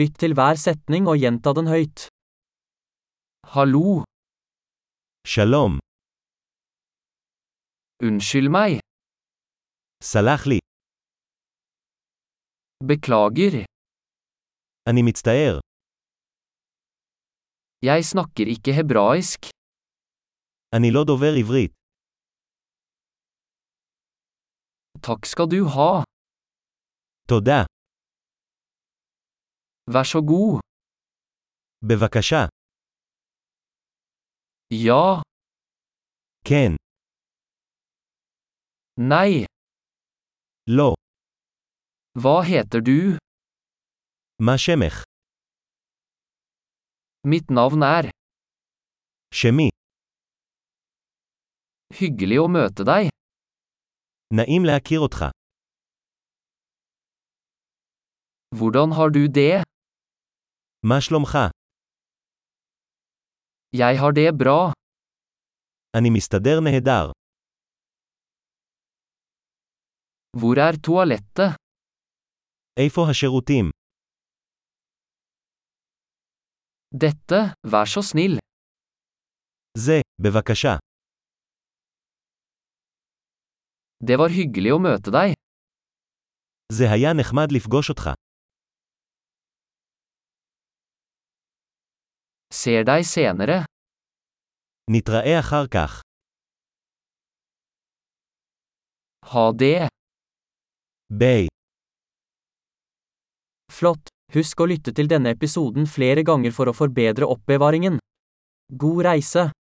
Lytt til hver setning og gjenta den høyt. Hallo, שלום, unnskyld meg, סלח לי, beklager, אני מצטער, jeg snakker ikke hebraisk, אני לא דובר עברית, takk skal du ha, תודה, vær så god, בבקשה, ja, כן, nei, לא, hva heter du? מה שמך, Mitt navn er, שמי, hyggelig å møte deg, נעים להכיר אותך, hvordan har du det? מה שלומך, Jeg har det bra, אני מסתדר נהדר, hvor er toalettet? איפה השירותים, Dette, vær så snill, זה, בבקשה, det var hyggelig å møte deg, זה היה נחמד לפגוש אותך, ser deg senere, נתראה אחר כך, ha det, ביי. flott, husk å lytte til denne episoden flere ganger for å forbedre oppbevaringen. God reise!